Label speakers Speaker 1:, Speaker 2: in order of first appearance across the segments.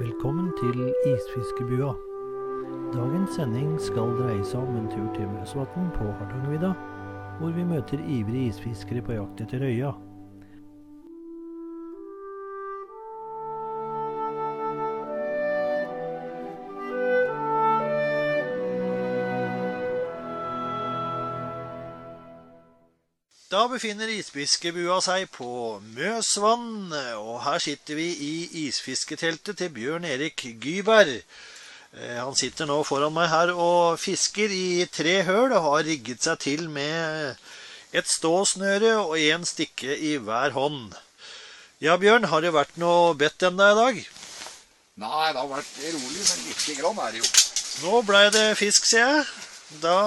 Speaker 1: Velkommen til Isfiskebua. Dagens sending skal dreie seg om en tur til Mjøsvatn på Hardangervidda, hvor vi møter ivrige isfiskere på jakt etter røya. Da befinner isfiskebua seg på Møsvann, og her sitter vi i isfisketeltet til Bjørn Erik Gyberg. Eh, Han sitter nå foran meg her og fisker i tre høl og har rigget seg til med et ståsnøre og én stikke i hver hånd. Ja, Bjørn, har det vært noe bedt ennå i dag?
Speaker 2: Nei, det har vært rolig, men lite grann er det jo.
Speaker 1: Nå blei det fisk, ser jeg. Da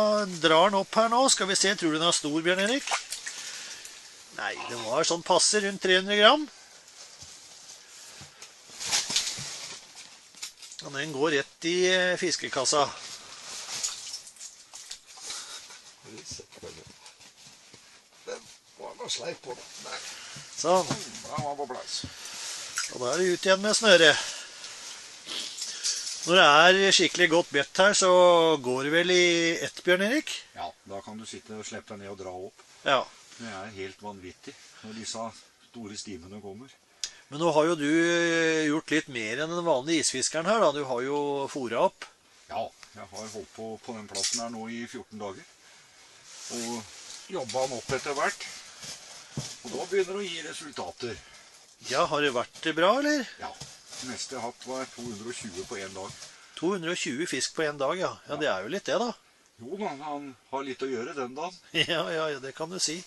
Speaker 1: drar den opp her nå. Skal vi se, tror du den er stor, Bjørn Erik? Nei, den var sånn passe, rundt 300 gram. Og den går rett i eh, fiskekassa.
Speaker 2: Den var noe sleip på den. Nei,
Speaker 1: Sånn.
Speaker 2: den var på plass.
Speaker 1: Og da er det ut igjen med snøret. Når det er skikkelig godt bedt her, så går det vel i ett, Bjørn Erik?
Speaker 2: Ja, da kan du sitte og slippe deg ned og dra opp.
Speaker 1: Ja.
Speaker 2: Det er helt vanvittig når disse store stimene kommer.
Speaker 1: Men nå har jo du eh, gjort litt mer enn den vanlige isfiskeren her, da. Du har jo fôra opp.
Speaker 2: Ja, jeg har holdt på på den plassen her nå i 14 dager. Og jobba den opp etter hvert. Og da begynner det å gi resultater.
Speaker 1: Ja, har det vært bra, eller?
Speaker 2: Ja. Det neste jeg har hatt, var 220 på én dag.
Speaker 1: 220 fisk på én dag, ja. Ja, det er jo litt det, da.
Speaker 2: Jo da, han har litt å gjøre den dagen.
Speaker 1: Ja, ja, ja, det kan du si.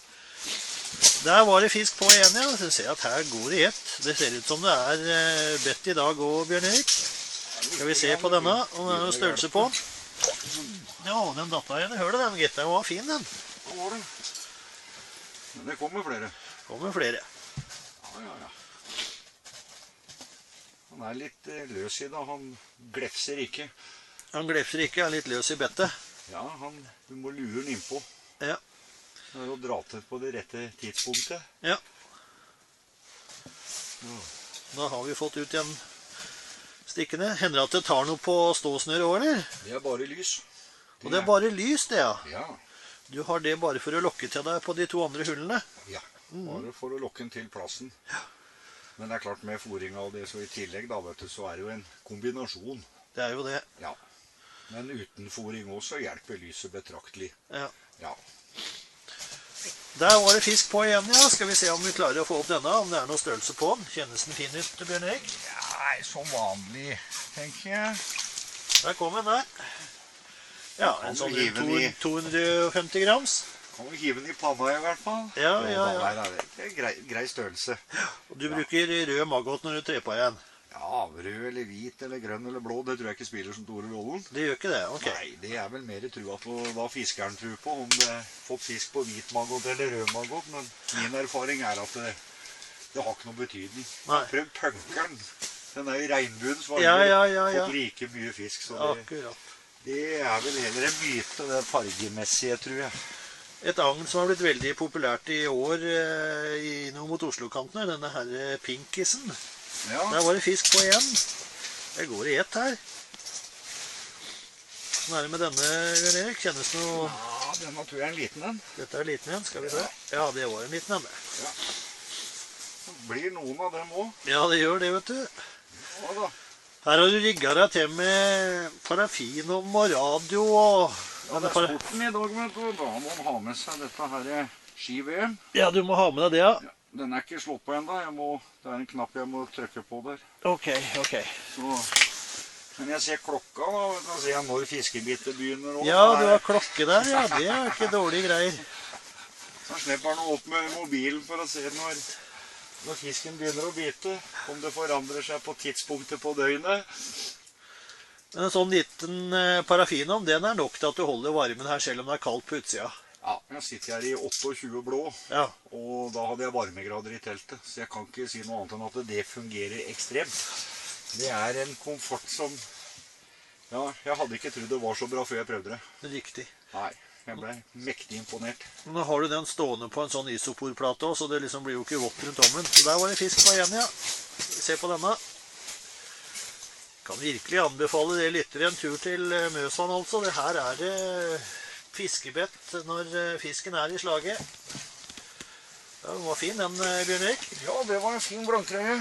Speaker 1: Der var det fisk på igjen, ja. Så ser jeg at her går det i ett. Det ser ut som det er eh, bedt i dag òg, Bjørn Erik. Skal vi se på denne, om det er noe størrelse på den. Ja, den datt av igjen i hølet, den, gitt. Den var fin, den.
Speaker 2: Da var det. Men det kommer flere.
Speaker 1: Kommer flere.
Speaker 2: Ja, ja, ja. Han er litt eh, løs i det. Han glefser ikke.
Speaker 1: Han glefser ikke, er litt løs i bettet.
Speaker 2: Ja, han, Du må lure han innpå.
Speaker 1: Ja.
Speaker 2: Det er jo å dra til på det rette tidspunktet.
Speaker 1: Ja. Da har vi fått ut igjen stikkene. Hender det at det tar noe på ståsnøret òg, eller?
Speaker 2: Det er bare lys.
Speaker 1: Og det er bare lys, det, ja.
Speaker 2: Ja.
Speaker 1: Du har det bare for å lokke til deg på de to andre hullene.
Speaker 2: ja. Bare for å lokke han til plassen. Men det er klart, med fôringa og det så i tillegg, da, vet du, så er det jo en kombinasjon.
Speaker 1: Det er jo det.
Speaker 2: Ja. Men uten fôring også hjelper lyset betraktelig.
Speaker 1: Ja.
Speaker 2: Ja.
Speaker 1: Der var det fisk på igjen, ja. Skal vi se om vi klarer å få opp denne, om det er noe størrelse på den. Kjennes den fin ut, Bjørn Erik?
Speaker 2: Nei, som vanlig, tenker jeg.
Speaker 1: Der kom den, der. Ja, en sånn
Speaker 2: Kan du hive den i?
Speaker 1: rundt 250 grams.
Speaker 2: Kan vi hive den i panna i hvert fall.
Speaker 1: Ja, ja, ja.
Speaker 2: Nei, nei, det er grei, grei størrelse.
Speaker 1: Og du bruker rød maggot når du trer på igjen.
Speaker 2: Ja, Rød eller hvit eller grønn eller blå, det tror jeg ikke spiller så store rollen.
Speaker 1: Det gjør ikke det? Ok.
Speaker 2: Nei, det er vel mer trua på hva fiskeren tror på, om det er fått fisk på hvit maggot eller rød maggot. Men min erfaring er at det, det har ikke noe betydning.
Speaker 1: Nei.
Speaker 2: Prøv punkeren. Den er i regnbuens farger.
Speaker 1: Ja, ja, ja, ja.
Speaker 2: Fått like mye fisk, så det,
Speaker 1: Akkurat.
Speaker 2: det er vel heller en myte, det fargemessige, tror jeg.
Speaker 1: Et agn som har blitt veldig populært i år eh, i noe mot Oslo-kantene, denne her eh, pinkisen.
Speaker 2: Ja.
Speaker 1: Der var det fisk på igjen. Det går i ett her. Hvordan er det med denne, Jørn Erik? Kjennes noe
Speaker 2: ja, denne tror jeg er en liten en.
Speaker 1: Dette er en liten en, skal vi se. Ja, det var en liten en. det.
Speaker 2: Det blir noen av dem òg.
Speaker 1: Ja, det gjør det, vet du.
Speaker 2: Ja da.
Speaker 1: Her har du rigga deg til med parafin og radio og
Speaker 2: Ja, det er sporten i dag, vet du. og Da må man ha med seg dette her eh, ski-VM.
Speaker 1: Ja, du må ha med deg det, ja.
Speaker 2: Den er ikke slått på ennå. Jeg må- Det er en knapp jeg må trykke på der.
Speaker 1: Ok, ok.
Speaker 2: Så. Men jeg ser klokka, da. vet du, Da ser jeg når fiskebitet begynner. Og
Speaker 1: Ja, du har klokke der, ja. Det er ikke dårlige greier.
Speaker 2: Så slipper han opp med mobilen for å se når, når fisken begynner å bite. Om det forandrer seg på tidspunktet på døgnet.
Speaker 1: Men en sånn liten eh, parafinovn, den er nok til at du holder varmen her selv om det er kaldt på utsida.
Speaker 2: Ja, Jeg sitter her i 28 blå,
Speaker 1: Ja,
Speaker 2: og da hadde jeg varmegrader i teltet. Så jeg kan ikke si noe annet enn at det fungerer ekstremt. Det er en komfort som Ja, jeg hadde ikke trodd det var så bra før jeg prøvde det.
Speaker 1: riktig.
Speaker 2: Nei, jeg ble mektig imponert.
Speaker 1: Nå har du den stående på en sånn isoporplate også, så det liksom blir jo ikke vått rundt ommen. Så der var det fisk på igjen, ja. Se på denne. Kan virkelig anbefale det lyttere en tur til eh, Møsvann, altså. Det her er det eh, fiskebett når eh, fisken er i slaget. Ja, den var fin, den, eh, Bjørn Erik.
Speaker 2: Ja, det var en fin blankreie.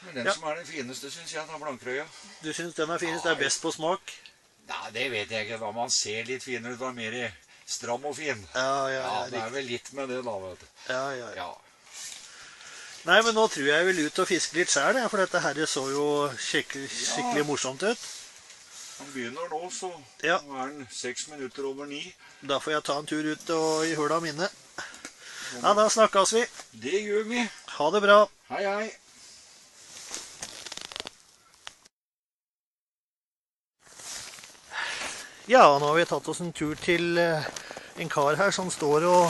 Speaker 2: Men den
Speaker 1: Ja.
Speaker 2: som er den fineste, syns jeg, den blankrøya.
Speaker 1: Du syns den er finest? Det er best på smak?
Speaker 2: Nei, det vet jeg ikke. Da man ser litt finere ut, da er mer i stram og fin.
Speaker 1: Ja, ja,
Speaker 2: Ja, det
Speaker 1: ja.
Speaker 2: er vel litt med det, da, vet du.
Speaker 1: ja, ja, ja.
Speaker 2: Ja.
Speaker 1: Nei, men nå tror jeg jeg vil ut og fiske litt sjøl, for dette her så jo skikkelig, skikkelig morsomt ut.
Speaker 2: Han begynner nå, så
Speaker 1: Ja.
Speaker 2: nå er den seks minutter over ni.
Speaker 1: Da får jeg ta en tur ut og i hula mine. Ja, da snakkes vi.
Speaker 2: Det gjør vi.
Speaker 1: Ha det bra.
Speaker 2: Hei, hei.
Speaker 1: Ja, nå har vi tatt oss en tur til eh, en kar her som står og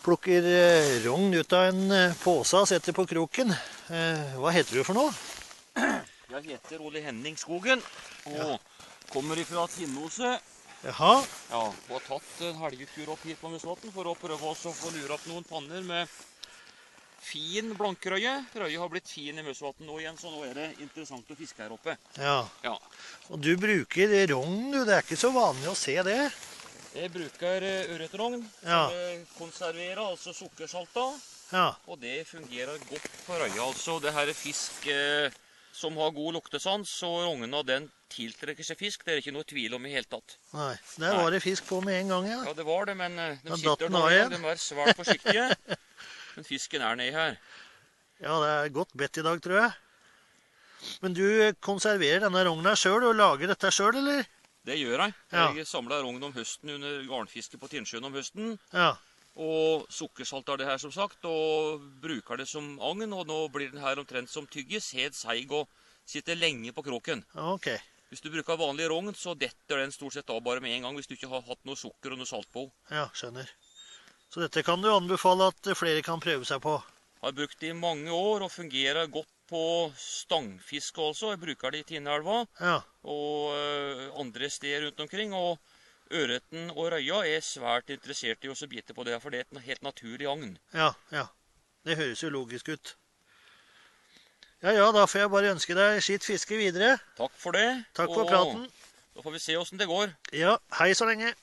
Speaker 1: plukker eh, rogn ut av en eh, pose og setter på kroken. Eh, Hva heter du for noe?
Speaker 3: Jeg heter Ole Henning Skogen og kommer ifra Tinnose.
Speaker 1: Jaha.
Speaker 3: Ja, og har tatt en helgetur opp hit på Musvatn for å prøve oss å få lure opp noen panner med fin blankrøye. Røye har blitt fin i Musvatn nå igjen, så nå er det interessant å fiske her oppe.
Speaker 1: Ja.
Speaker 3: Ja.
Speaker 1: Og du bruker rogn, du. Det er ikke så vanlig å se det.
Speaker 3: Jeg bruker eh, ørretrogn.
Speaker 1: Ja.
Speaker 3: eh, Konserverer, altså sukkersalta.
Speaker 1: Ja.
Speaker 3: Og det fungerer godt på røya, altså. Det her er fisk eh, som har god luktesans, og rognen av den tiltrekker seg fisk. Det er ikke noe tvil om i hele tatt.
Speaker 1: Nei. Der var det fisk på med en gang, ja.
Speaker 3: Ja, det var det, men eh,
Speaker 1: Da
Speaker 3: de
Speaker 1: datt
Speaker 3: sitter
Speaker 1: den
Speaker 3: nå
Speaker 1: av
Speaker 3: igjen.
Speaker 1: igjen.
Speaker 3: De er svært forsiktige. Men fisken er nedi her.
Speaker 1: Ja, det er godt bedt i dag, tror jeg. Men du konserverer denne rogna sjøl og lager dette sjøl, eller?
Speaker 3: Det gjør jeg.
Speaker 1: Ja.
Speaker 3: Jeg samla rogn om høsten under garnfiske på Tinnsjøen om høsten.
Speaker 1: Ja.
Speaker 3: Og sukkersalt er det her, som sagt, og bruker det som agn. Og nå blir den her omtrent som tyggis, helt seig og sitter lenge på kråken.
Speaker 1: Ok.
Speaker 3: Hvis du bruker vanlig rogn, så detter den stort sett av bare med en gang hvis du ikke har hatt noe sukker og noe salt på.
Speaker 1: Ja, skjønner. Så dette kan du anbefale at flere kan prøve seg på.
Speaker 3: Har brukt det i mange år og fungerer godt på stangfiske også. Jeg bruker det i Tinneelva.
Speaker 1: Ja.
Speaker 3: og eh, andre steder rundt omkring. Og ørreten og røya er svært interessert i å så bite på det, for det er et na- helt naturlig agn.
Speaker 1: Ja, ja. Det høres jo logisk ut. Ja ja, da får jeg bare ønske deg skitt fiske videre.
Speaker 3: Takk for det.
Speaker 1: Takk for
Speaker 3: og
Speaker 1: praten.
Speaker 3: Da får vi se åssen det går.
Speaker 1: Ja, hei så lenge.